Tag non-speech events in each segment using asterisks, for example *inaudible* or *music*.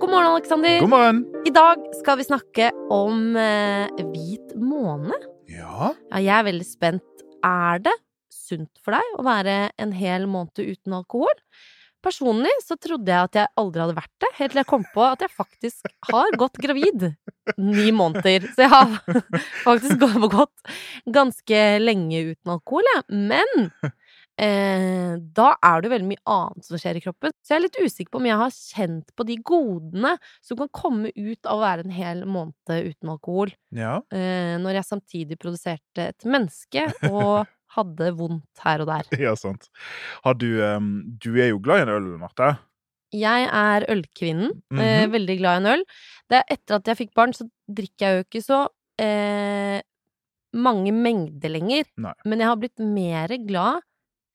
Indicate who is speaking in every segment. Speaker 1: morgen, Aleksander.
Speaker 2: God morgen!
Speaker 1: I dag skal vi snakke om eh, hvit måne.
Speaker 2: Ja,
Speaker 1: Ja, jeg er veldig spent. Er det sunt for deg å være en hel måned uten alkohol? Personlig så trodde jeg at jeg aldri hadde vært det, helt til jeg kom på at jeg faktisk har gått gravid ni måneder. Så jeg har *laughs* faktisk gå- gått ganske lenge uten alkohol, jeg. Men eh, da er det jo veldig mye annet som skjer i kroppen. Så jeg er litt usikker på om jeg har kjent på de godene som kan komme ut av å være en hel måned uten alkohol
Speaker 2: ja.
Speaker 1: eh, når jeg samtidig produserte et menneske og hadde vondt her og der.
Speaker 2: *laughs* ja sant. Har du em, Du er jo glad i en øl, Marte.
Speaker 1: Jeg er ølkvinnen, eh,
Speaker 2: Mhm.
Speaker 1: veldig glad i en øl. Det er etter at jeg fikk barn, så drikker jeg jo ikke så eh, mange mengder lenger.
Speaker 2: Nei.
Speaker 1: Men jeg har blitt mer glad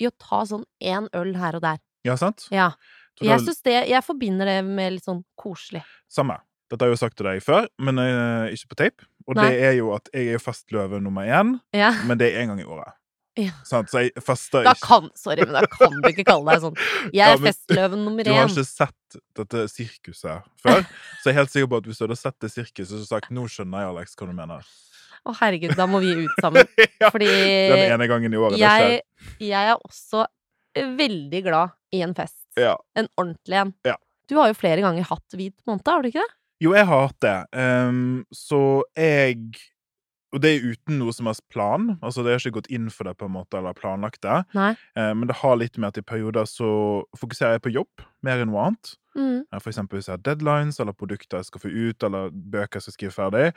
Speaker 1: i å ta sånn én øl her og der.
Speaker 2: Ja, sant?
Speaker 1: Ja.
Speaker 2: Så da-
Speaker 1: Jeg, synes det, jeg forbinder det med litt sånn koselig.
Speaker 2: Samme. Dette har jeg jo sagt til deg før, men eh, ikke på tape. Og
Speaker 1: Nei.
Speaker 2: det er jo at jeg er jo fastløve nummer én,
Speaker 1: Ja.
Speaker 2: men det er én gang i året.
Speaker 1: Ja.
Speaker 2: Sant? Så jeg faster
Speaker 1: Da
Speaker 2: ikke.
Speaker 1: kan, sorry, men da kan du ikke kalle
Speaker 2: *laughs*
Speaker 1: deg sånn. Jeg
Speaker 2: Ja,
Speaker 1: er
Speaker 2: men
Speaker 1: festløven nummer
Speaker 2: Du
Speaker 1: én.
Speaker 2: har ikke sett dette sirkuset før, så jeg er helt sikker på at hvis du hadde sett det sirkuset, så sagt 'nå skjønner jeg, Alex, hva du mener'.
Speaker 1: Å herregud, da må vi ut sammen.
Speaker 2: *laughs* Ja,
Speaker 1: Fordi
Speaker 2: Den ene gangen i året det skjer.
Speaker 1: Eh, jeg, jeg er også veldig glad i en fest.
Speaker 2: Ja.
Speaker 1: En ordentlig en.
Speaker 2: Ja.
Speaker 1: Du har jo flere ganger hatt hvit måned, har du ikke det?
Speaker 2: Jo, jeg har hatt det. Ehm, så jeg Og det er uten noe som helst plan. Altså, jeg har ikke gått inn for det, på en måte, eller planlagt det.
Speaker 1: Nei.
Speaker 2: Eh, men det har litt med at i perioder så fokuserer jeg på jobb mer enn noe annet.
Speaker 1: Mm.
Speaker 2: Eh, For eksempel hvis jeg har deadlines, eller produkter jeg skal få ut, eller bøker jeg skal skrive ferdig.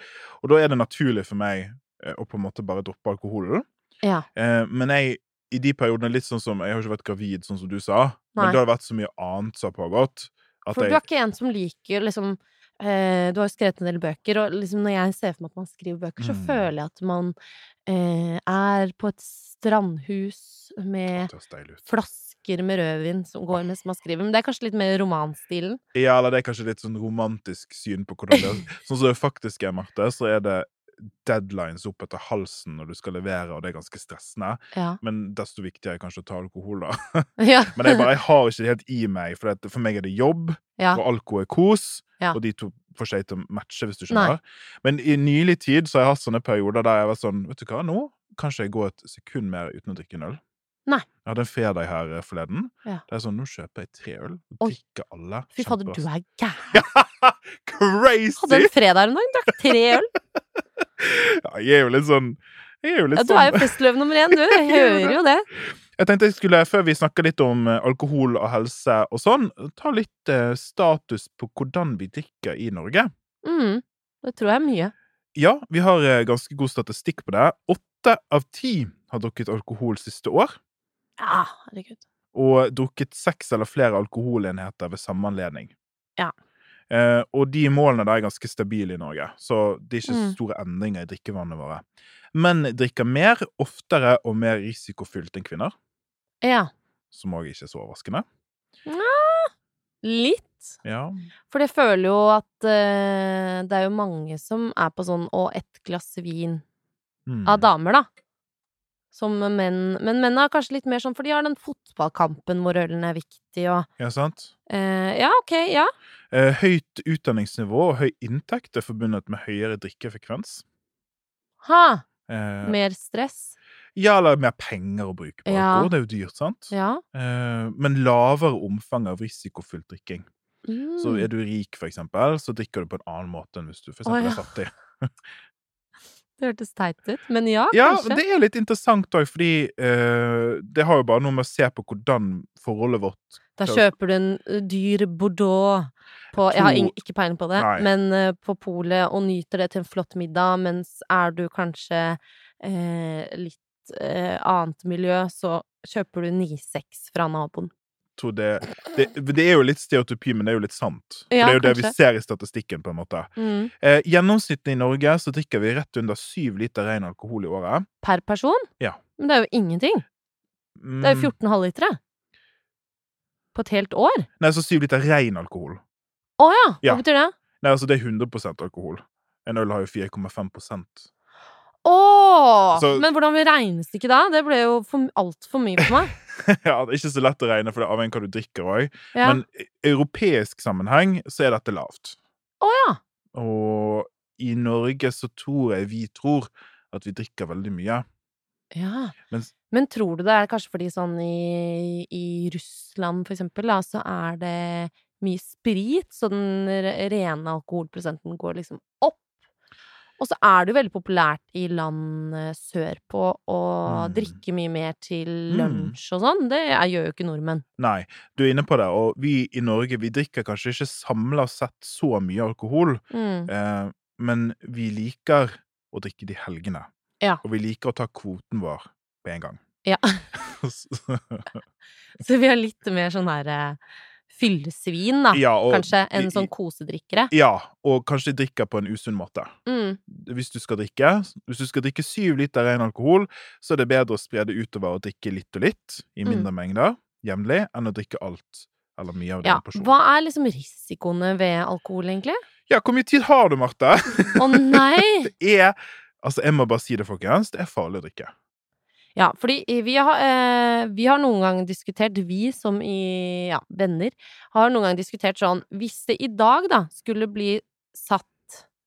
Speaker 2: Og da er det naturlig for meg eh, å på en måte bare droppe alkoholen.
Speaker 1: Ja.
Speaker 2: Eh, men jeg, i de periodene, litt sånn som Jeg har ikke vært gravid, sånn som du sa.
Speaker 1: Nei.
Speaker 2: Men det har vært så mye annet som har pågått. At
Speaker 1: For du
Speaker 2: jeg,
Speaker 1: er ikke en som liker liksom eh, Du har jo skrevet en del bøker, og liksom når jeg ser for meg at man skriver bøker, så
Speaker 2: Mm.
Speaker 1: føler jeg at man eh, er på et strandhus
Speaker 2: Å,
Speaker 1: med
Speaker 2: det høres deilig ut.
Speaker 1: flasker med rødvin som går mens man skriver. Men det er kanskje litt mer romanstilen.
Speaker 2: Ja, eller det er kanskje litt sånn romantisk syn på hvordan
Speaker 1: *laughs*
Speaker 2: det er. Sånn som det faktisk er, Marte, så er det deadlines opp etter halsen når du skal levere, og det er ganske stressende.
Speaker 1: Ja.
Speaker 2: Men desto viktigere er kanskje å ta alkohol, da.
Speaker 1: *laughs* ja.
Speaker 2: Men jeg, bare, jeg har ikke det helt i meg, for det, at for meg er det jobb,
Speaker 1: Ja.
Speaker 2: og alko er kos,
Speaker 1: Ja.
Speaker 2: og de to får seg til å matche, hvis du
Speaker 1: Nei.
Speaker 2: skjønner. Men i nylig tid så har jeg hatt sånne perioder der jeg var sånn, vet du hva, nå kanskje jeg går et sekund mer uten å drikke en øl.
Speaker 1: Nei.
Speaker 2: Jeg hadde en fredag her eh, forleden.
Speaker 1: Ja.
Speaker 2: Det er sånn, nå kjøper jeg tre øl, og
Speaker 1: Oi.
Speaker 2: drikker alle.
Speaker 1: Fy fader, du er gæren. Hadde
Speaker 2: Crazy!
Speaker 1: en fredag en dag, drakk tre øl.
Speaker 2: Ja, jeg er jo litt sånn jeg er jo litt sånn-
Speaker 1: Ja, du er jo festløv nummer én, du.
Speaker 2: *laughs*
Speaker 1: Jeg hører jo det.
Speaker 2: Jeg tenkte jeg skulle, før vi snakker litt om eh, alkohol og helse og sånn, ta litt eh, status på hvordan vi drikker i Norge.
Speaker 1: Mm, det tror jeg er mye.
Speaker 2: Ja, vi har eh, ganske god statistikk på det. Åtte av ti har drukket alkohol siste år,
Speaker 1: Ja, herregud.
Speaker 2: og drukket seks eller flere alkoholenheter ved samme anledning.
Speaker 1: Ja.
Speaker 2: Eh, og de målene der er ganske stabile i Norge, så det er ikke så
Speaker 1: Mm.
Speaker 2: store endringer i drikkevannet våre. Menn drikker mer, oftere og mer risikofylt enn kvinner,
Speaker 1: Ja.
Speaker 2: som òg ikke er så overraskende.
Speaker 1: Litt.
Speaker 2: Ja,
Speaker 1: For jeg føler jo at eh, det er jo mange som er på sånn å, ett glass vin
Speaker 2: mm.
Speaker 1: av damer, da. Som menn. Men menn er kanskje litt mer sånn, for de har den fotballkampen hvor ølen er viktig og
Speaker 2: Ja, sant?
Speaker 1: eh, Ja, ok, ja.
Speaker 2: Eh, Høyt utdanningsnivå og høy inntekt er forbundet med høyere drikkefrekvens.
Speaker 1: Ha!
Speaker 2: Eh,
Speaker 1: Mer stress.
Speaker 2: ja, eller mer penger å bruke på
Speaker 1: Ja.
Speaker 2: alkohol. Det er jo dyrt, sant?
Speaker 1: Ja.
Speaker 2: Eh, men lavere omfang av risikofylt drikking.
Speaker 1: Mm.
Speaker 2: Så er du rik, for eksempel, så drikker du på en annen måte enn hvis du for
Speaker 1: Å,
Speaker 2: eksempel
Speaker 1: ja.
Speaker 2: er fattig.
Speaker 1: Det hørtes teit ut, men *laughs* ja,
Speaker 2: Ja,
Speaker 1: kanskje.
Speaker 2: det er litt interessant òg, fordi eh, det har jo bare noe med å se på hvordan forholdet vårt
Speaker 1: Da kjøper du en ø, dyr Bordeaux på Jeg har ing- ikke peiling på det,
Speaker 2: Nei.
Speaker 1: men ø, på polet og nyter det til en flott middag, mens er du kanskje eh, litt eh, annet miljø, så kjøper du 9-6 fra naboen.
Speaker 2: tror det, det Det er jo litt stereotypi, men det er jo litt sant. For
Speaker 1: Ja,
Speaker 2: det er jo det
Speaker 1: kanskje.
Speaker 2: vi ser i statistikken, på en måte.
Speaker 1: Mm.
Speaker 2: Eh, gjennomsnittlig i Norge så drikker vi rett under syv liter ren alkohol i året.
Speaker 1: Per person?
Speaker 2: Ja.
Speaker 1: Men det er jo ingenting.
Speaker 2: Mm,
Speaker 1: Det er jo 14 halvlitere. På et helt år?
Speaker 2: Nei, så syv liter ren alkohol.
Speaker 1: Å ja! Hva
Speaker 2: Ja.
Speaker 1: betyr det?
Speaker 2: Nei, altså det er 100 alkohol. En øl har jo 4,5
Speaker 1: Å!
Speaker 2: Så-
Speaker 1: Men hvordan regnes det ikke da? Det ble jo for- altfor mye for
Speaker 2: *laughs*
Speaker 1: meg.
Speaker 2: *laughs* Ja, det er ikke så lett å regne, for det avhenger av hva du drikker òg.
Speaker 1: Ja.
Speaker 2: Men i europeisk sammenheng så er dette lavt.
Speaker 1: Å ja.
Speaker 2: Og i Norge så tror jeg vi tror at vi drikker veldig mye.
Speaker 1: ja. Men,
Speaker 2: Mens-
Speaker 1: tror du det er kanskje fordi sånn i, i Russland, for eksempel, da, så er det mye sprit, så den re- rene alkoholprosenten går liksom opp. Og så er det jo veldig populært i land eh, sørpå å
Speaker 2: Mm.
Speaker 1: drikke mye mer til
Speaker 2: Mm.
Speaker 1: lunsj og sånn. Det er- gjør jo ikke nordmenn.
Speaker 2: Nei, du er inne på det, og vi i Norge vi drikker kanskje ikke samla sett så mye alkohol,
Speaker 1: Mm.
Speaker 2: eh, men vi liker å drikke det i helgene.
Speaker 1: Ja.
Speaker 2: Og vi liker å ta kvoten vår på en gang. *laughs*
Speaker 1: Ja.
Speaker 2: Så-
Speaker 1: *laughs* Så vi er litt mer sånn her eh, fyllesvin, da.
Speaker 2: ja, og,
Speaker 1: Ah, Kanskje
Speaker 2: i-
Speaker 1: en sånn kosedrikkere.
Speaker 2: Ja, og kanskje drikker på en usunn måte.
Speaker 1: Mm.
Speaker 2: Hvis du skal drikke hvis du skal drikke syv liter ren alkohol, så er det bedre å spre det utover og drikke litt og litt, i
Speaker 1: Mm.
Speaker 2: mindre mengder, jevnlig, enn å drikke alt eller mye av det
Speaker 1: Ja.
Speaker 2: en person.
Speaker 1: Hva er liksom risikoene ved alkohol, egentlig?
Speaker 2: Ja, hvor mye tid har du, Marte? *laughs*
Speaker 1: Å nei!
Speaker 2: Det er Altså, jeg må bare si det, folkens. Det er farlig å drikke.
Speaker 1: Ja, fordi vi har, eh, vi har noen gang diskutert, vi som i ja, venner, har noen gang diskutert sånn Hvis det i dag da skulle bli satt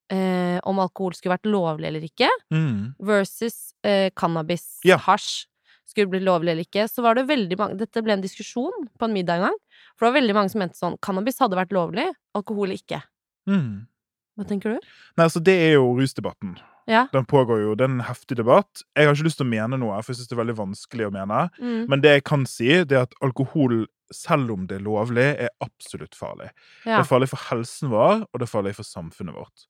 Speaker 1: eh, om alkohol skulle vært lovlig eller ikke,
Speaker 2: Mm.
Speaker 1: versus eh, cannabis,
Speaker 2: Ja.
Speaker 1: hasj, skulle bli lovlig eller ikke, så var det veldig mange Dette ble en diskusjon på en middag en gang, for det var veldig mange som mente sånn Cannabis hadde vært lovlig, alkohol ikke.
Speaker 2: Mm.
Speaker 1: Hva tenker du?
Speaker 2: Nei, altså, det er jo rusdebatten.
Speaker 1: Ja.
Speaker 2: Den pågår jo. Det er en heftig debatt. Jeg har ikke lyst til å mene noe, for jeg syns det er veldig vanskelig å mene.
Speaker 1: Mm.
Speaker 2: Men det jeg kan si, det er at alkohol, selv om det er lovlig, er absolutt farlig. Det
Speaker 1: Ja.
Speaker 2: er farlig for helsen vår, og det er farlig for samfunnet vårt.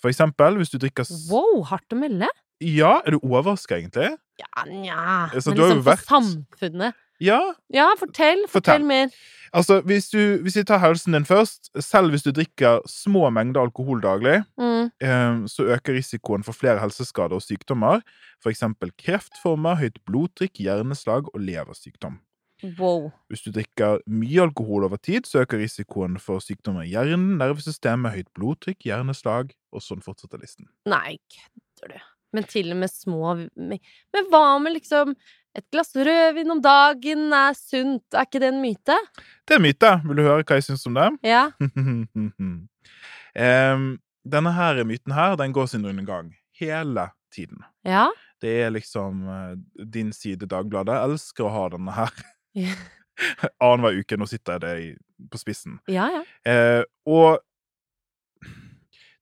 Speaker 2: For eksempel, hvis du drikker s-
Speaker 1: Wow, hardt å melde?
Speaker 2: Ja, er du overraska, egentlig?
Speaker 1: Ja, nja
Speaker 2: Så
Speaker 1: Men
Speaker 2: du har jo
Speaker 1: liksom for
Speaker 2: vært-
Speaker 1: samfunnet.
Speaker 2: Ja.
Speaker 1: Ja, fortell. Fortell
Speaker 2: Fortell.
Speaker 1: mer.
Speaker 2: Altså, hvis, du, hvis vi tar helsen din først Selv hvis du drikker små mengder alkohol daglig,
Speaker 1: Mm.
Speaker 2: eh, så øker risikoen for flere helseskader og sykdommer. For eksempel kreftformer, høyt blodtrykk, hjerneslag og leversykdom.
Speaker 1: Wow.
Speaker 2: Hvis du drikker mye alkohol over tid, så øker risikoen for sykdommer i hjernen, nervesystemet, høyt blodtrykk, hjerneslag, og sånn fortsetter listen.
Speaker 1: Nei, kødder du? Men til og med små Men men hva med liksom et glass rødvin om dagen er sunt? Er ikke det en myte?
Speaker 2: Det er en myte. Vil du høre hva jeg syns om det? *laughs*
Speaker 1: Ja.
Speaker 2: Em, denne her myten her, den går sin undergang hele tiden.
Speaker 1: Ja.
Speaker 2: Det er liksom eh, din side, Dagbladet. Jeg elsker å ha denne her
Speaker 1: Ja,
Speaker 2: *laughs* annenhver uke. Nå sitter jeg det i- på spissen.
Speaker 1: ja. ja.
Speaker 2: Eh, og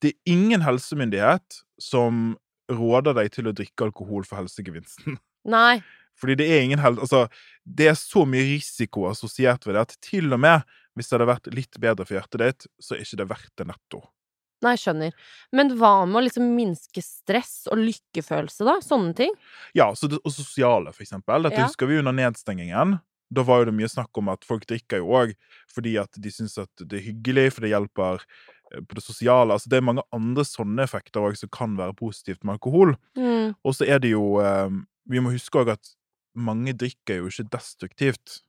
Speaker 2: det er ingen helsemyndighet som råder deg til å drikke alkohol for helsegevinsten. *laughs*
Speaker 1: Nei.
Speaker 2: Fordi det er ingen hel... Altså, det er så mye risiko assosiert ved det at til og med hvis det hadde vært litt bedre for hjertet ditt, så er ikke det verdt det netto.
Speaker 1: Nei, skjønner. Men hva med å liksom minske stress og lykkefølelse, da? Sånne ting?
Speaker 2: Ja, så det, og sosiale, for eksempel. Dette
Speaker 1: Ja.
Speaker 2: husker vi under nedstengingen. Da var jo det mye snakk om at folk drikker jo òg fordi at de syns at det er hyggelig, for det hjelper eh, på det sosiale. Altså, det er mange andre sånne effekter òg som kan være positivt med alkohol.
Speaker 1: Mm.
Speaker 2: Og så er det jo eh, Vi må huske òg at mange drikker jo ikke destruktivt.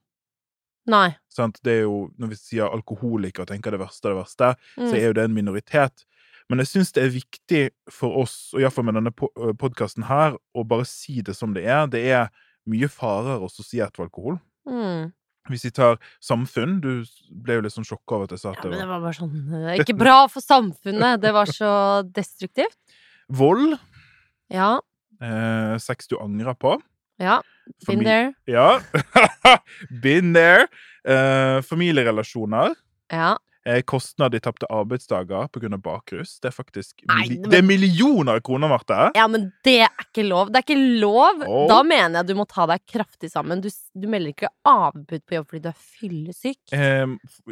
Speaker 1: Nei.
Speaker 2: Sant? Det er jo, Når vi sier alkoholiker og tenker det verste av det verste,
Speaker 1: Mm.
Speaker 2: så er jo det en minoritet. Men jeg syns det er viktig for oss, og iallfall med denne podkasten her, å bare si det som det er. Det er mye farer assosiert med alkohol.
Speaker 1: Mm.
Speaker 2: Hvis vi tar samfunn Du ble jo litt sånn sjokka over at jeg sa
Speaker 1: Ja,
Speaker 2: at
Speaker 1: men
Speaker 2: det
Speaker 1: det
Speaker 2: var
Speaker 1: var bare sånn eh, Ikke bra for samfunnet! Det var
Speaker 2: *laughs*
Speaker 1: så destruktivt.
Speaker 2: vold.
Speaker 1: Ja.
Speaker 2: Eh, sex du angrer på.
Speaker 1: Ja. Been
Speaker 2: Famil-
Speaker 1: there.
Speaker 2: Ja. *laughs* Been there. Eh, familierelasjoner.
Speaker 1: Ja.
Speaker 2: Eh, kostnad i tapte arbeidsdager pga. bakrus. Det er faktisk
Speaker 1: Nei,
Speaker 2: milli-
Speaker 1: men-
Speaker 2: Det er millioner av kroner, Marte!
Speaker 1: Ja, men det er ikke lov. Det er ikke lov!
Speaker 2: Åh.
Speaker 1: Da mener jeg du må ta deg kraftig sammen. Du, s- du melder ikke avbud på jobb fordi du er fyllesyk.
Speaker 2: Eh,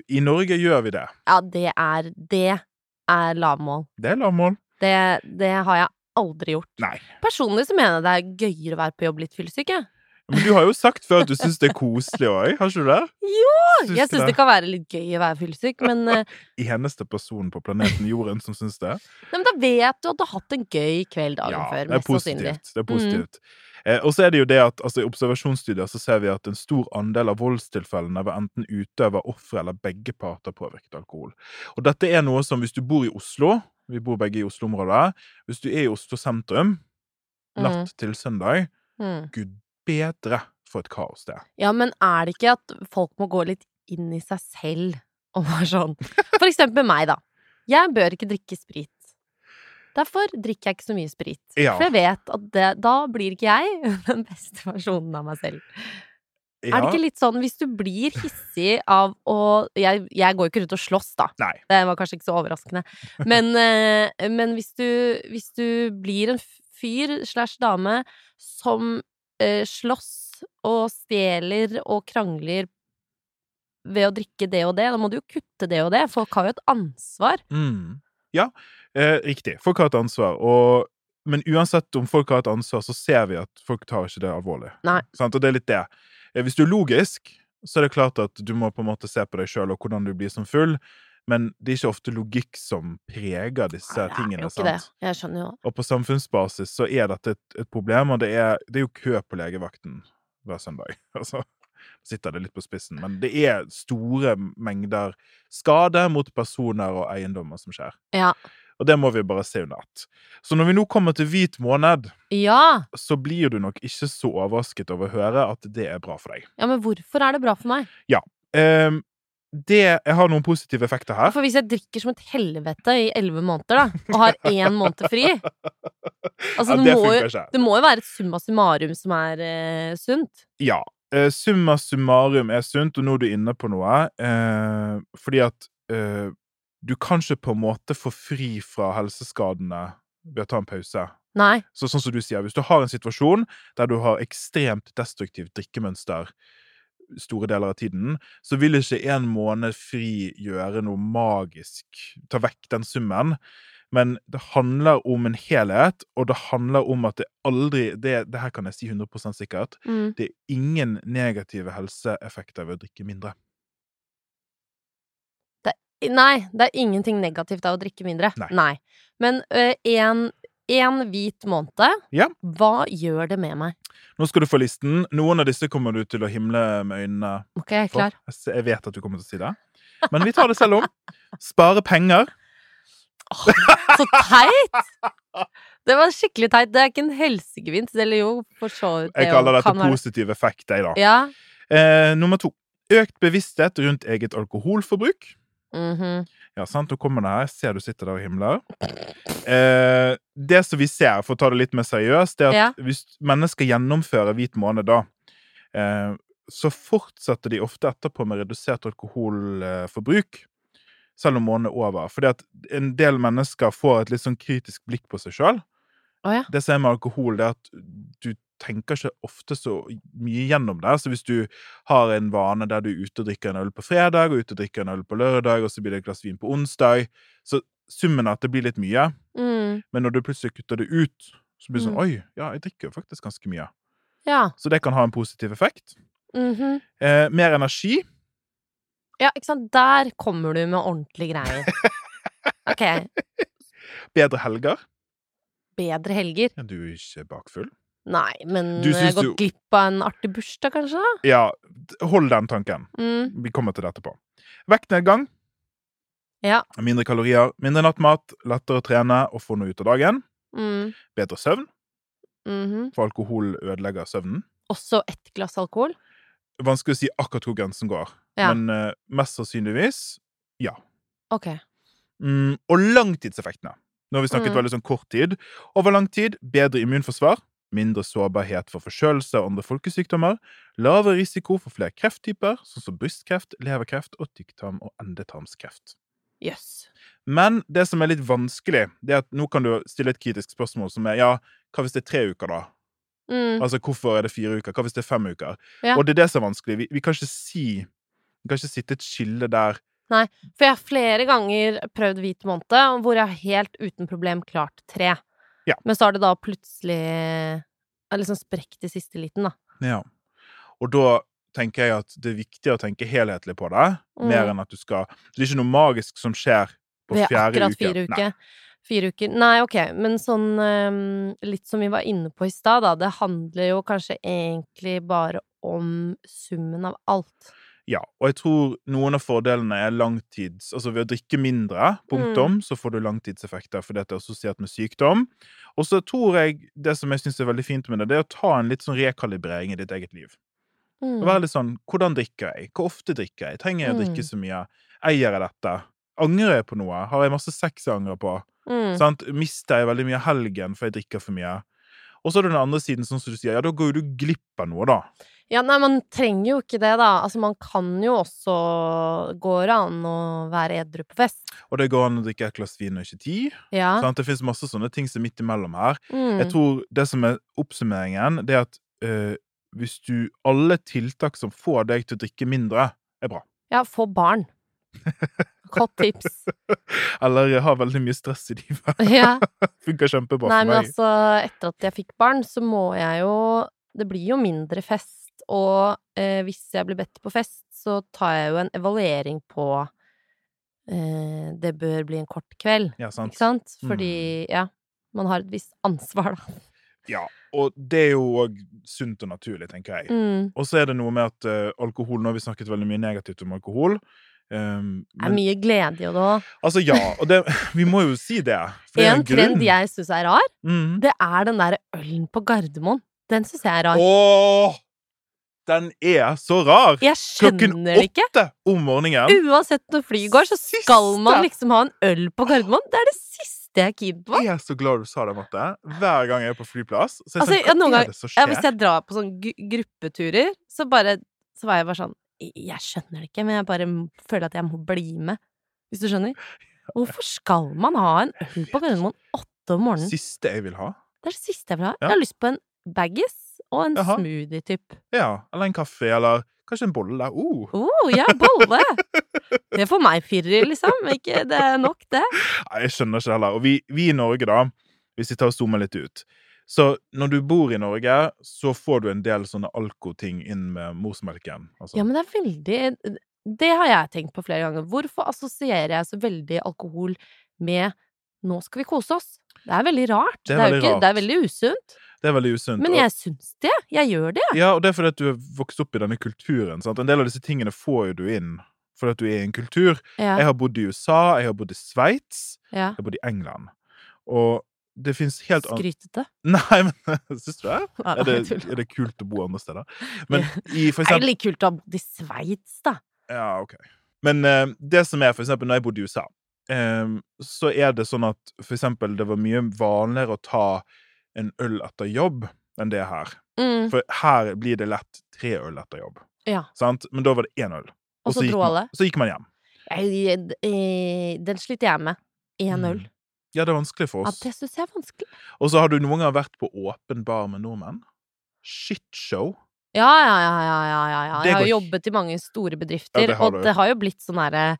Speaker 2: I Norge gjør vi det.
Speaker 1: Ja, det er Det er lavmål.
Speaker 2: Det er lavmål.
Speaker 1: Det, det har jeg aldri gjort.
Speaker 2: Nei.
Speaker 1: Personlig så mener jeg det er gøyere å være på jobb litt fyllesyk, jeg.
Speaker 2: Men du har jo sagt før at du syns det er koselig òg, har ikke du det?
Speaker 1: Jo,
Speaker 2: Syns
Speaker 1: Jeg
Speaker 2: du
Speaker 1: syns det
Speaker 2: det?
Speaker 1: kan være litt gøy å være fyllesyk, men,
Speaker 2: *laughs*
Speaker 1: eh,
Speaker 2: Eneste personen på planeten Jorden som syns
Speaker 1: *laughs*
Speaker 2: det.
Speaker 1: nei, men da vet du at du har hatt en gøy kveld dagen før.
Speaker 2: det er
Speaker 1: Mest sannsynlig. Mm.
Speaker 2: positivt. Det er positivt. Eh, og så er det jo det at altså, i observasjonsstudier så ser vi at en stor andel av voldstilfellene var enten utøver, offer eller begge parter påvirket av alkohol. Og dette er noe som hvis du bor i Oslo, vi bor begge i Oslo-området, hvis du er i Oslo sentrum natt
Speaker 1: Mhm.
Speaker 2: til søndag,
Speaker 1: Mm.
Speaker 2: gud bedre for et kaos det er.
Speaker 1: Ja, men er det ikke at folk må gå litt inn i seg selv og være sånn For eksempel meg, da. Jeg bør ikke drikke sprit. Derfor drikker jeg ikke så mye sprit.
Speaker 2: Ja.
Speaker 1: For jeg vet at det, da blir ikke jeg *laughs* den beste versjonen av meg selv. Er det
Speaker 2: Ja.
Speaker 1: ikke litt sånn hvis du blir hissig av å Jeg, jeg går jo ikke rundt og slåss, da.
Speaker 2: Nei.
Speaker 1: Det var kanskje ikke så overraskende. Men, eh, men hvis, du, hvis du blir en fyr slash dame som eh, slåss og stjeler og krangler ved å drikke det og det, da må du jo kutte det og det. Folk har jo et ansvar.
Speaker 2: Mm. Ja, eh, riktig. Folk har et ansvar. Og, men uansett om folk har et ansvar, så ser vi at folk tar ikke det alvorlig.
Speaker 1: Nei.
Speaker 2: Sant? Og det er litt det. Eh, Hvis du er logisk, så er det klart at du må på en måte se på deg sjøl og hvordan du blir som full, men det er ikke ofte logikk som preger disse
Speaker 1: Nei, det er
Speaker 2: tingene.
Speaker 1: jo ikke det.
Speaker 2: sant?
Speaker 1: Jeg skjønner jo det.
Speaker 2: Og på samfunnsbasis så er dette et, et problem, og det er, det er jo kø på legevakten hver søndag. *laughs* Altså, sitter det litt på spissen, men det er store mengder skade mot personer og eiendommer som skjer.
Speaker 1: Ja.
Speaker 2: Og det må vi bare se under ett. Så når vi nå kommer til hvit måned,
Speaker 1: ja!
Speaker 2: så blir du nok ikke så overrasket over å høre at det er bra for deg.
Speaker 1: Ja, men hvorfor er det bra for meg?
Speaker 2: Ehm, det, jeg har noen positive effekter her.
Speaker 1: For hvis jeg drikker som et helvete i elleve måneder, da, og har én måned *laughs* fri Altså, det
Speaker 2: Ja, det
Speaker 1: må, jo,
Speaker 2: funker ikke.
Speaker 1: det må jo være et summa summarum som er eh, sunt.
Speaker 2: Ja. eh, summa summarum er sunt, og nå er du inne på noe. eh, fordi at eh, du kan ikke på en måte få fri fra helseskadene ved å ta en pause.
Speaker 1: Nei.
Speaker 2: Så, sånn som du sier, Hvis du har en situasjon der du har ekstremt destruktivt drikkemønster store deler av tiden, så vil ikke en måned fri gjøre noe magisk, ta vekk den summen. Men det handler om en helhet, og det handler om at det aldri Det, det her kan jeg si 100 sikkert
Speaker 1: Mm.
Speaker 2: det er ingen negative helseeffekter ved å drikke mindre.
Speaker 1: Nei, det er ingenting negativt av å drikke mindre.
Speaker 2: Nei.
Speaker 1: Men én hvit måned,
Speaker 2: Ja.
Speaker 1: hva gjør det med meg?
Speaker 2: Nå skal du få listen. Noen av disse kommer du til å himle med øynene
Speaker 1: Ok, jeg er
Speaker 2: for.
Speaker 1: klar.
Speaker 2: Jeg s- Jeg vet at du kommer til å si det. Men vi tar det selv om. Spare penger.
Speaker 1: Så teit!
Speaker 2: *laughs*
Speaker 1: Det var skikkelig teit. Det er ikke en helsegevinst. Eller jo, for så vidt.
Speaker 2: Jeg
Speaker 1: jo
Speaker 2: kaller dette
Speaker 1: kan være-
Speaker 2: positiv effekt, jeg, da.
Speaker 1: Ja.
Speaker 2: Eh, nummer to. Økt bevissthet rundt eget alkoholforbruk.
Speaker 1: mhm.
Speaker 2: Ja, sant, nå kommer det her. Jeg ser du sitter der og himler. Eh, det som vi ser, for å ta det litt mer seriøst, det er at
Speaker 1: Ja.
Speaker 2: hvis mennesker gjennomfører hvit måned da, eh, så fortsetter de ofte etterpå med redusert alkoholforbruk, selv om måneden er over. Fordi at en del mennesker får et litt sånn kritisk blikk på seg sjøl.
Speaker 1: Å ja.
Speaker 2: Det som er med alkohol, det er at du tenker ikke ofte så mye gjennom det. Så hvis du har en vane der du er ute og drikker en øl på fredag, og ute og drikker en øl på lørdag, og så blir det et glass vin på onsdag, så summen er at det blir litt mye.
Speaker 1: Mm.
Speaker 2: Men når du plutselig kutter det ut, så blir det sånn
Speaker 1: Mm.
Speaker 2: Oi, ja, jeg drikker jo faktisk ganske mye.
Speaker 1: Ja.
Speaker 2: Så det kan ha en positiv effekt.
Speaker 1: mhm.
Speaker 2: Eh, mer energi.
Speaker 1: Ja, ikke sant. Der kommer du med ordentlige greier.
Speaker 2: *laughs*
Speaker 1: Ok.
Speaker 2: Bedre helger.
Speaker 1: Bedre helger?
Speaker 2: Ja, du er ikke bakfull.
Speaker 1: Nei, men
Speaker 2: Du
Speaker 1: jeg har
Speaker 2: syns
Speaker 1: gått
Speaker 2: du-
Speaker 1: glipp av en artig bursdag, kanskje? da?
Speaker 2: Ja, d- hold den tanken.
Speaker 1: Mm.
Speaker 2: Vi kommer til det etterpå. Vektnedgang.
Speaker 1: Ja.
Speaker 2: Mindre kalorier, mindre nattmat, lettere å trene og få noe ut av dagen.
Speaker 1: Mm.
Speaker 2: Bedre søvn,
Speaker 1: mhm.
Speaker 2: for alkohol ødelegger søvnen.
Speaker 1: Også ett glass alkohol?
Speaker 2: Vanskelig å si akkurat hvor grensen går,
Speaker 1: Ja.
Speaker 2: men eh, mest sannsynligvis ja.
Speaker 1: Ok.
Speaker 2: Mm, og langtidseffektene. Nå har vi snakket
Speaker 1: Mm.
Speaker 2: veldig sånn kort tid. Over lang tid bedre immunforsvar, mindre sårbarhet for forkjølelse og andre folkesykdommer, lavere risiko for flere krefttyper, sånn som brystkreft, leverkreft og tykktarm- og endetarmskreft.
Speaker 1: Jøss.
Speaker 2: Men det som er litt vanskelig, det er at nå kan du stille et kritisk spørsmål som er ja, hva hvis det er tre uker, da?
Speaker 1: Mm.
Speaker 2: Altså, hvorfor er det fire uker? Hva hvis det er fem uker?
Speaker 1: Ja.
Speaker 2: Og det er det som er vanskelig. Vi, vi kan ikke si Vi kan ikke sitte et skille der.
Speaker 1: For jeg har flere ganger prøvd hvit måned, hvor jeg helt uten problem klart tre.
Speaker 2: Ja.
Speaker 1: Men så har det da plutselig ja, liksom sprukket i siste liten, da.
Speaker 2: Ja. Og da tenker jeg at det er viktig å tenke helhetlig på det,
Speaker 1: Mm.
Speaker 2: mer enn at du skal Det er ikke noe magisk som skjer på
Speaker 1: Ved
Speaker 2: fjerde
Speaker 1: akkurat
Speaker 2: uke.
Speaker 1: fire
Speaker 2: Nei.
Speaker 1: uker. Fire uker. Nei, ok, men sånn ehm, litt som vi var inne på i stad, da. Det handler jo kanskje egentlig bare om summen av alt.
Speaker 2: Ja, og jeg tror noen av fordelene er langtids... Altså ved å drikke mindre,
Speaker 1: Mm.
Speaker 2: punktum, så får du langtidseffekter fordi at det er assosiert med sykdom. Og så tror jeg det som jeg syns er veldig fint med det, det er å ta en litt sånn rekalibrering i ditt eget liv.
Speaker 1: Mm. Mm.
Speaker 2: Og være litt sånn Hvordan drikker jeg? Hvor ofte drikker jeg? Trenger jeg å drikke så mye? Eier jeg dette? Angrer jeg på noe? Har jeg masse sex jeg angrer på?
Speaker 1: Mm.
Speaker 2: Sant? Mister jeg veldig mye helgen for jeg drikker for mye? Og så er det den andre siden, sånn som du sier, ja, da går jo du glipp av noe, da.
Speaker 1: Ja, nei, man trenger jo ikke det, da. Altså, man kan jo også Går an å være edru på fest.
Speaker 2: Og det går an å drikke et glass vin og ikke ti.
Speaker 1: Ja.
Speaker 2: Sant? Det fins masse sånne ting som er midt imellom her. Jeg
Speaker 1: Ah. Mm.
Speaker 2: tror det som er oppsummeringen, det er at eh, hvis du Alle tiltak som får deg til å drikke mindre, er bra.
Speaker 1: ja, få
Speaker 2: *laughs*
Speaker 1: barn. Godt tips.
Speaker 2: Eller jeg har veldig mye stress i livet. *laughs*
Speaker 1: Ja.
Speaker 2: Funker kjempebra
Speaker 1: Nei,
Speaker 2: for
Speaker 1: men
Speaker 2: meg.
Speaker 1: altså, etter at jeg fikk barn, så må jeg jo Det blir jo mindre fest, og eh, hvis jeg blir bedt på fest, så tar jeg jo en evaluering på eh, Det bør bli en kort kveld,
Speaker 2: Ja, sant?
Speaker 1: ikke sant?
Speaker 2: Mm.
Speaker 1: Fordi, ja, man har et visst ansvar, da.
Speaker 2: Ja, og det er jo òg sunt og naturlig, tenker jeg.
Speaker 1: Mm.
Speaker 2: Og så er det noe med at eh, alkohol Nå har vi snakket veldig mye negativt om alkohol. Um,
Speaker 1: Det er
Speaker 2: men,
Speaker 1: mye glede i det òg.
Speaker 2: altså, ja. Og det, *laughs* vi må jo si det. for det er
Speaker 1: En trend jeg syns er rar,
Speaker 2: Mm.
Speaker 1: det er den derre ølen på Gardermoen. Den syns jeg er rar.
Speaker 2: Åh! Den er så rar!
Speaker 1: Jeg
Speaker 2: Klokken
Speaker 1: skjønner det ikke.
Speaker 2: åtte om morgenen.
Speaker 1: Uansett når flyet går, så skal
Speaker 2: Siste!
Speaker 1: man liksom ha en øl på Gardermoen. Det er det siste jeg er keen på.
Speaker 2: Jeg er så glad du sa det, Marte. Hver gang jeg er på flyplass. Så er jeg
Speaker 1: Altså, ja,
Speaker 2: sånn,
Speaker 1: noen
Speaker 2: hva
Speaker 1: ganger-
Speaker 2: er det som
Speaker 1: Ja,
Speaker 2: skjer?
Speaker 1: hvis jeg drar på sånne gu- gruppeturer, så bare Så var jeg bare sånn "Jeg- Jeg skjønner det ikke, men jeg bare m- føler at jeg må bli med. Hvis du skjønner? Hvorfor skal man ha en øl på Gardermoen åtte om morgenen?
Speaker 2: Siste jeg vil ha?
Speaker 1: Det er det siste jeg vil ha.
Speaker 2: Ja.
Speaker 1: Jeg har lyst på en baggis og en
Speaker 2: Jaha.
Speaker 1: smoothie-type.
Speaker 2: Ja. Eller en kaffe, eller kanskje en bolle. Oh.
Speaker 1: Oh, ja, bolle! Det får meg firer, liksom. Ikke, det er nok, det.
Speaker 2: Nei, jeg skjønner ikke heller. Og vi, vi i Norge, da, hvis vi tar og zoomer litt ut Så når du bor i Norge, så får du en del sånne alkoting inn med morsmelken. Altså.
Speaker 1: Ja, men det er veldig Det har jeg tenkt på flere ganger. Hvorfor assosierer jeg så veldig alkohol med 'nå skal vi kose oss'? Det er veldig rart.
Speaker 2: Det er
Speaker 1: jo
Speaker 2: veldig
Speaker 1: ikke, det er
Speaker 2: rart.
Speaker 1: veldig usunt.
Speaker 2: Det er veldig usunt.
Speaker 1: Men
Speaker 2: og-
Speaker 1: jeg syns det. Jeg gjør det.
Speaker 2: Ja, og det er fordi at du er vokst opp i denne kulturen. sant? En del av disse tingene får jo du inn fordi at du er i en kultur. Jeg
Speaker 1: Ja.
Speaker 2: har bodd i USA, jeg har bodd i Sveits,
Speaker 1: ja.
Speaker 2: jeg har bodd i England. Og det fins helt annet
Speaker 1: Skrytete.
Speaker 2: *laughs* Nei, men *laughs* Syns du det?
Speaker 1: *laughs* Nei,
Speaker 2: Er det,
Speaker 1: jeg tuller.
Speaker 2: er det kult å bo andre
Speaker 1: *laughs*
Speaker 2: steder? Men i for
Speaker 1: Det er jo
Speaker 2: eksempel
Speaker 1: litt kult å ha bodd i Sveits, da.
Speaker 2: Ja, OK. Men eh, det som er, for eksempel, når jeg bodde i USA, eh, så er det sånn at for eksempel det var mye vanligere å ta en øl etter jobb enn det her.
Speaker 1: Mm.
Speaker 2: For her blir det lett tre øl etter jobb.
Speaker 1: Ja.
Speaker 2: Sant? Men da var det én øl.
Speaker 1: Og så
Speaker 2: gikk
Speaker 1: dro
Speaker 2: man-
Speaker 1: alle.
Speaker 2: Så gikk man hjem.
Speaker 1: Jeg, eh, den sliter jeg med. Én øl.
Speaker 2: Mm. Ja, det er vanskelig for
Speaker 1: Ja,
Speaker 2: oss.
Speaker 1: det syns jeg er vanskelig.
Speaker 2: Og så har du noen gang vært på åpen bar med nordmenn. Shitshow.
Speaker 1: Ja, ja, ja, ja, ja, ja, ja.
Speaker 2: Det
Speaker 1: Jeg har
Speaker 2: går-
Speaker 1: jobbet i mange store bedrifter,
Speaker 2: Ja, det har
Speaker 1: og
Speaker 2: du.
Speaker 1: det har jo blitt sånn herre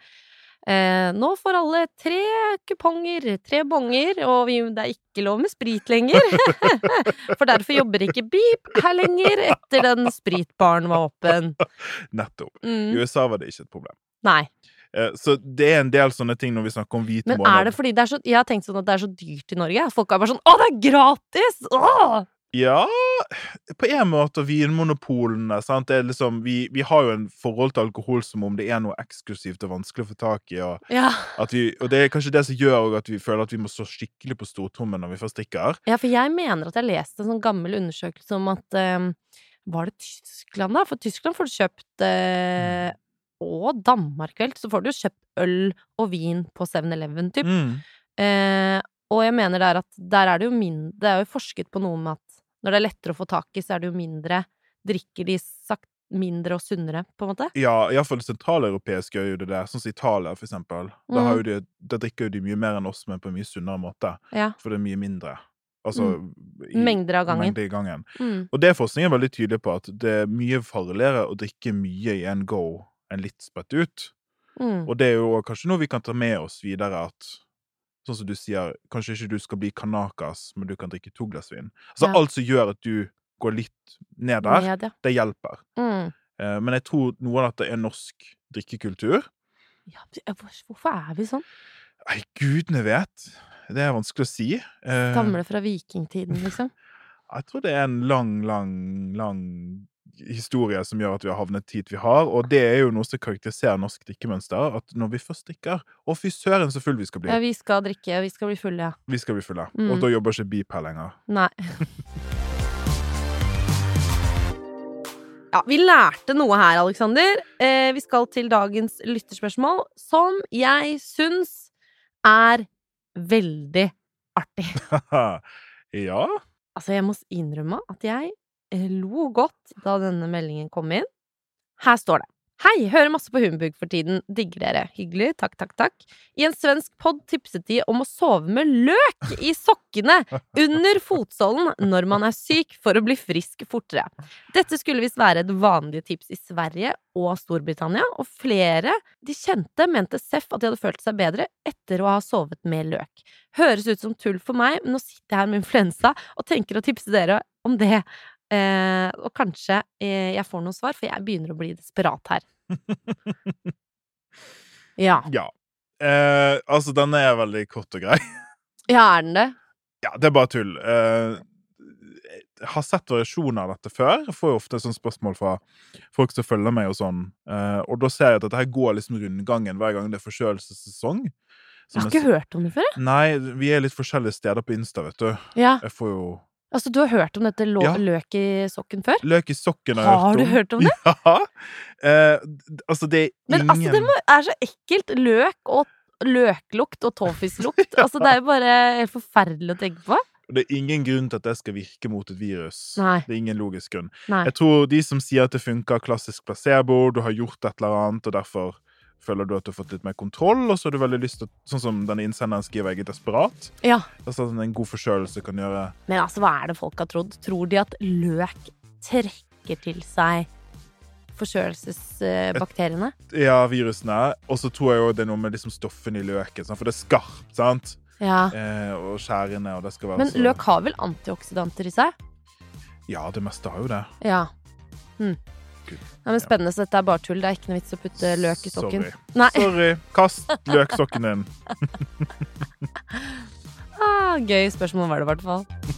Speaker 1: eh, Nå får alle tre kuponger, tre bonger, og vi, det er ikke lov med sprit lenger. *laughs* For derfor jobber ikke Beep her lenger etter den spritbaren var åpen.
Speaker 2: Nettopp. I
Speaker 1: Mm,
Speaker 2: USA var det ikke et problem.
Speaker 1: nei.
Speaker 2: Eh, Så det er en del sånne ting når vi snakker om hvite
Speaker 1: Men er det
Speaker 2: måneder.
Speaker 1: fordi det er så Jeg har tenkt sånn at det er så dyrt i Norge. Folk er bare sånn Å, det er gratis! Åh!
Speaker 2: Ja, på en måte. og Vinmonopolene, sant. Det er liksom, vi, vi har jo en forhold til alkohol som om det er noe eksklusivt og vanskelig å få tak i. Og,
Speaker 1: Ja.
Speaker 2: at vi, og det er kanskje det som gjør også at vi føler at vi må stå skikkelig på stortrommen når vi først drikker.
Speaker 1: Ja, for jeg mener at jeg leste en sånn gammel undersøkelse om at eh, Var det Tyskland, da? For Tyskland får du
Speaker 2: Mm.
Speaker 1: kjøpt eh, Og Danmark, vel, så får du jo kjøpt øl og vin på 7-Eleven, typ.
Speaker 2: Mm.
Speaker 1: Eh, og jeg mener der at der er det jo mindre Det er jo forsket på noe med at når det er lettere å få tak i, så er det jo mindre Drikker de sagt mindre og sunnere, på en måte?
Speaker 2: Ja, iallfall sentraleuropeisk gjør jo det der. Sånn som Italia, for eksempel. Da,
Speaker 1: Mm.
Speaker 2: har jo de, da drikker jo de mye mer enn oss, men på en mye sunnere måte.
Speaker 1: Ja.
Speaker 2: For det er mye mindre. Altså i
Speaker 1: Mengder Mm. av gangen.
Speaker 2: mengde i gangen.
Speaker 1: Mm.
Speaker 2: Og det er forskningen veldig tydelig på, at det er mye farligere å drikke mye i en go enn litt spredt ut.
Speaker 1: Mm.
Speaker 2: Og det er jo kanskje noe vi kan ta med oss videre, at sånn som du sier, kanskje ikke du skal bli kanakas, men du kan drikke to glass vin. Altså
Speaker 1: Ja.
Speaker 2: alt som gjør at du går litt ned der,
Speaker 1: Media.
Speaker 2: det hjelper.
Speaker 1: Mm.
Speaker 2: Eh, Men jeg tror noe av dette er norsk drikkekultur.
Speaker 1: Ja, hvor- hvorfor er vi sånn?
Speaker 2: Nei, gudene vet! Det er vanskelig å si. Eh,
Speaker 1: Stammer det fra vikingtiden, liksom?
Speaker 2: Jeg tror det er en lang, lang, lang historie som gjør at vi har havnet hit vi har, og det er jo noe som karakteriserer norsk drikkemønster, at når vi først drikker Å, fy søren, så full vi skal
Speaker 1: Ja,
Speaker 2: bli!
Speaker 1: vi skal drikke, vi skal bli fulle, ja.
Speaker 2: Vi skal bli fulle.
Speaker 1: Mm.
Speaker 2: Og da jobber ikke Beep her lenger.
Speaker 1: Nei. *laughs* Ja, vi lærte noe her, Aleksander. Eh, vi skal til dagens lytterspørsmål, som jeg syns er veldig artig.
Speaker 2: *laughs*
Speaker 1: *laughs*
Speaker 2: ja.
Speaker 1: Altså, jeg må innrømme at jeg eh, lo godt da denne meldingen kom inn. Her står det. Hei, hører masse på Humbug for tiden. Digger dere. Hyggelig. Takk, takk, takk. I en svensk pod tipset de om å sove med løk i sokkene under fotsålen når man er syk, for å bli frisk fortere. Dette skulle visst være et vanlig tips i Sverige og Storbritannia, og flere de kjente mente Seff at de hadde følt seg bedre etter å ha sovet med løk. Høres ut som tull for meg, men nå sitter jeg her med influensa og tenker å tipse dere om det. Eh, og kanskje eh, jeg får noen svar, for jeg begynner å bli desperat her. ja.
Speaker 2: ja. Eh, altså, denne er veldig kort og grei. *laughs*
Speaker 1: ja, er den det?
Speaker 2: Ja, det er bare tull. Eh, jeg har sett variasjoner av dette før. Jeg får jo ofte sånne spørsmål fra folk som følger meg, og sånn. Eh, og da ser jeg at dette her går liksom rundgangen hver gang det er forkjølelsessesong.
Speaker 1: Jeg
Speaker 2: Som
Speaker 1: har
Speaker 2: jeg
Speaker 1: ikke hørt om det før. jeg.
Speaker 2: s- Nei, vi er litt forskjellige steder på Insta, vet du.
Speaker 1: Ja.
Speaker 2: Jeg får jo
Speaker 1: Altså, du har hørt om dette lå-
Speaker 2: Ja.
Speaker 1: løk i sokken før?
Speaker 2: Løk i sokken har jeg
Speaker 1: Har du
Speaker 2: om.
Speaker 1: hørt om det?
Speaker 2: *laughs* Ja! Eh, d- altså, det er
Speaker 1: Men
Speaker 2: ingen
Speaker 1: altså, det må, er så ekkelt. Løk og løklukt og
Speaker 2: *laughs*
Speaker 1: tåfislukt. Altså, det er jo bare helt forferdelig å tenke på.
Speaker 2: Det er ingen grunn til at det skal virke mot et virus.
Speaker 1: Nei.
Speaker 2: Det er ingen logisk grunn.
Speaker 1: Nei.
Speaker 2: Jeg tror de som sier at det funker klassisk placebo, du har gjort et eller annet, og derfor føler du at du har fått litt mer kontroll, og så har du veldig lyst til, å- sånn som denne innsenderen skriver, jeg er desperat.
Speaker 1: Ja.
Speaker 2: Altså at en god forkjølelse kan gjøre
Speaker 1: Men altså, hva er det folk har trodd? Tror de at løk trekker til seg forkjølelsesbakteriene?
Speaker 2: ja, virusene. Og så tror jeg jo det er noe med liksom stoffene i løken, sant? for det er skarpt, sant?
Speaker 1: Ja.
Speaker 2: Eh, og skjærende, og det skal være
Speaker 1: Men
Speaker 2: så-
Speaker 1: løk har vel antioksidanter i seg?
Speaker 2: Ja, det meste har jo det.
Speaker 1: Ja. Hm.
Speaker 2: Gud.
Speaker 1: Nei, men Spennende, så dette er bare tull. Det er ikke noe vits å putte løk i sokken.
Speaker 2: Sorry.
Speaker 1: Nei.
Speaker 2: Sorry. Kast løksokken din.
Speaker 1: Ah, gøy spørsmål var det i hvert fall.